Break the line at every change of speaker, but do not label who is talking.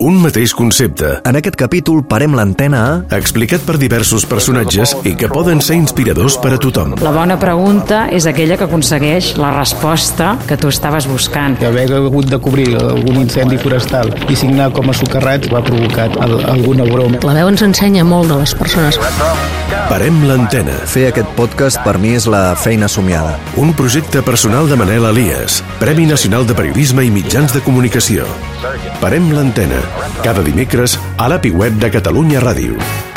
un mateix concepte,
En aquest capítol parem l'antena a...
explicat per diversos personatges i que poden ser inspiradors per a tothom.
La bona pregunta és aquella que aconsegueix la resposta que tu estaves buscant.
que haver hagut de cobrir algun incendi forestal i signar com a socarrat va provocar al- alguna broma.
La veu ens ensenya molt de les persones.
Parem l'antena,
Fer aquest podcast per mi és la feina somiada.
un projecte personal de Manel Elias, Premi Nacional de Periodisme i Mitjans de Comunicació. Parem l'antena, cada dimecres a l'API web de Catalunya Ràdio.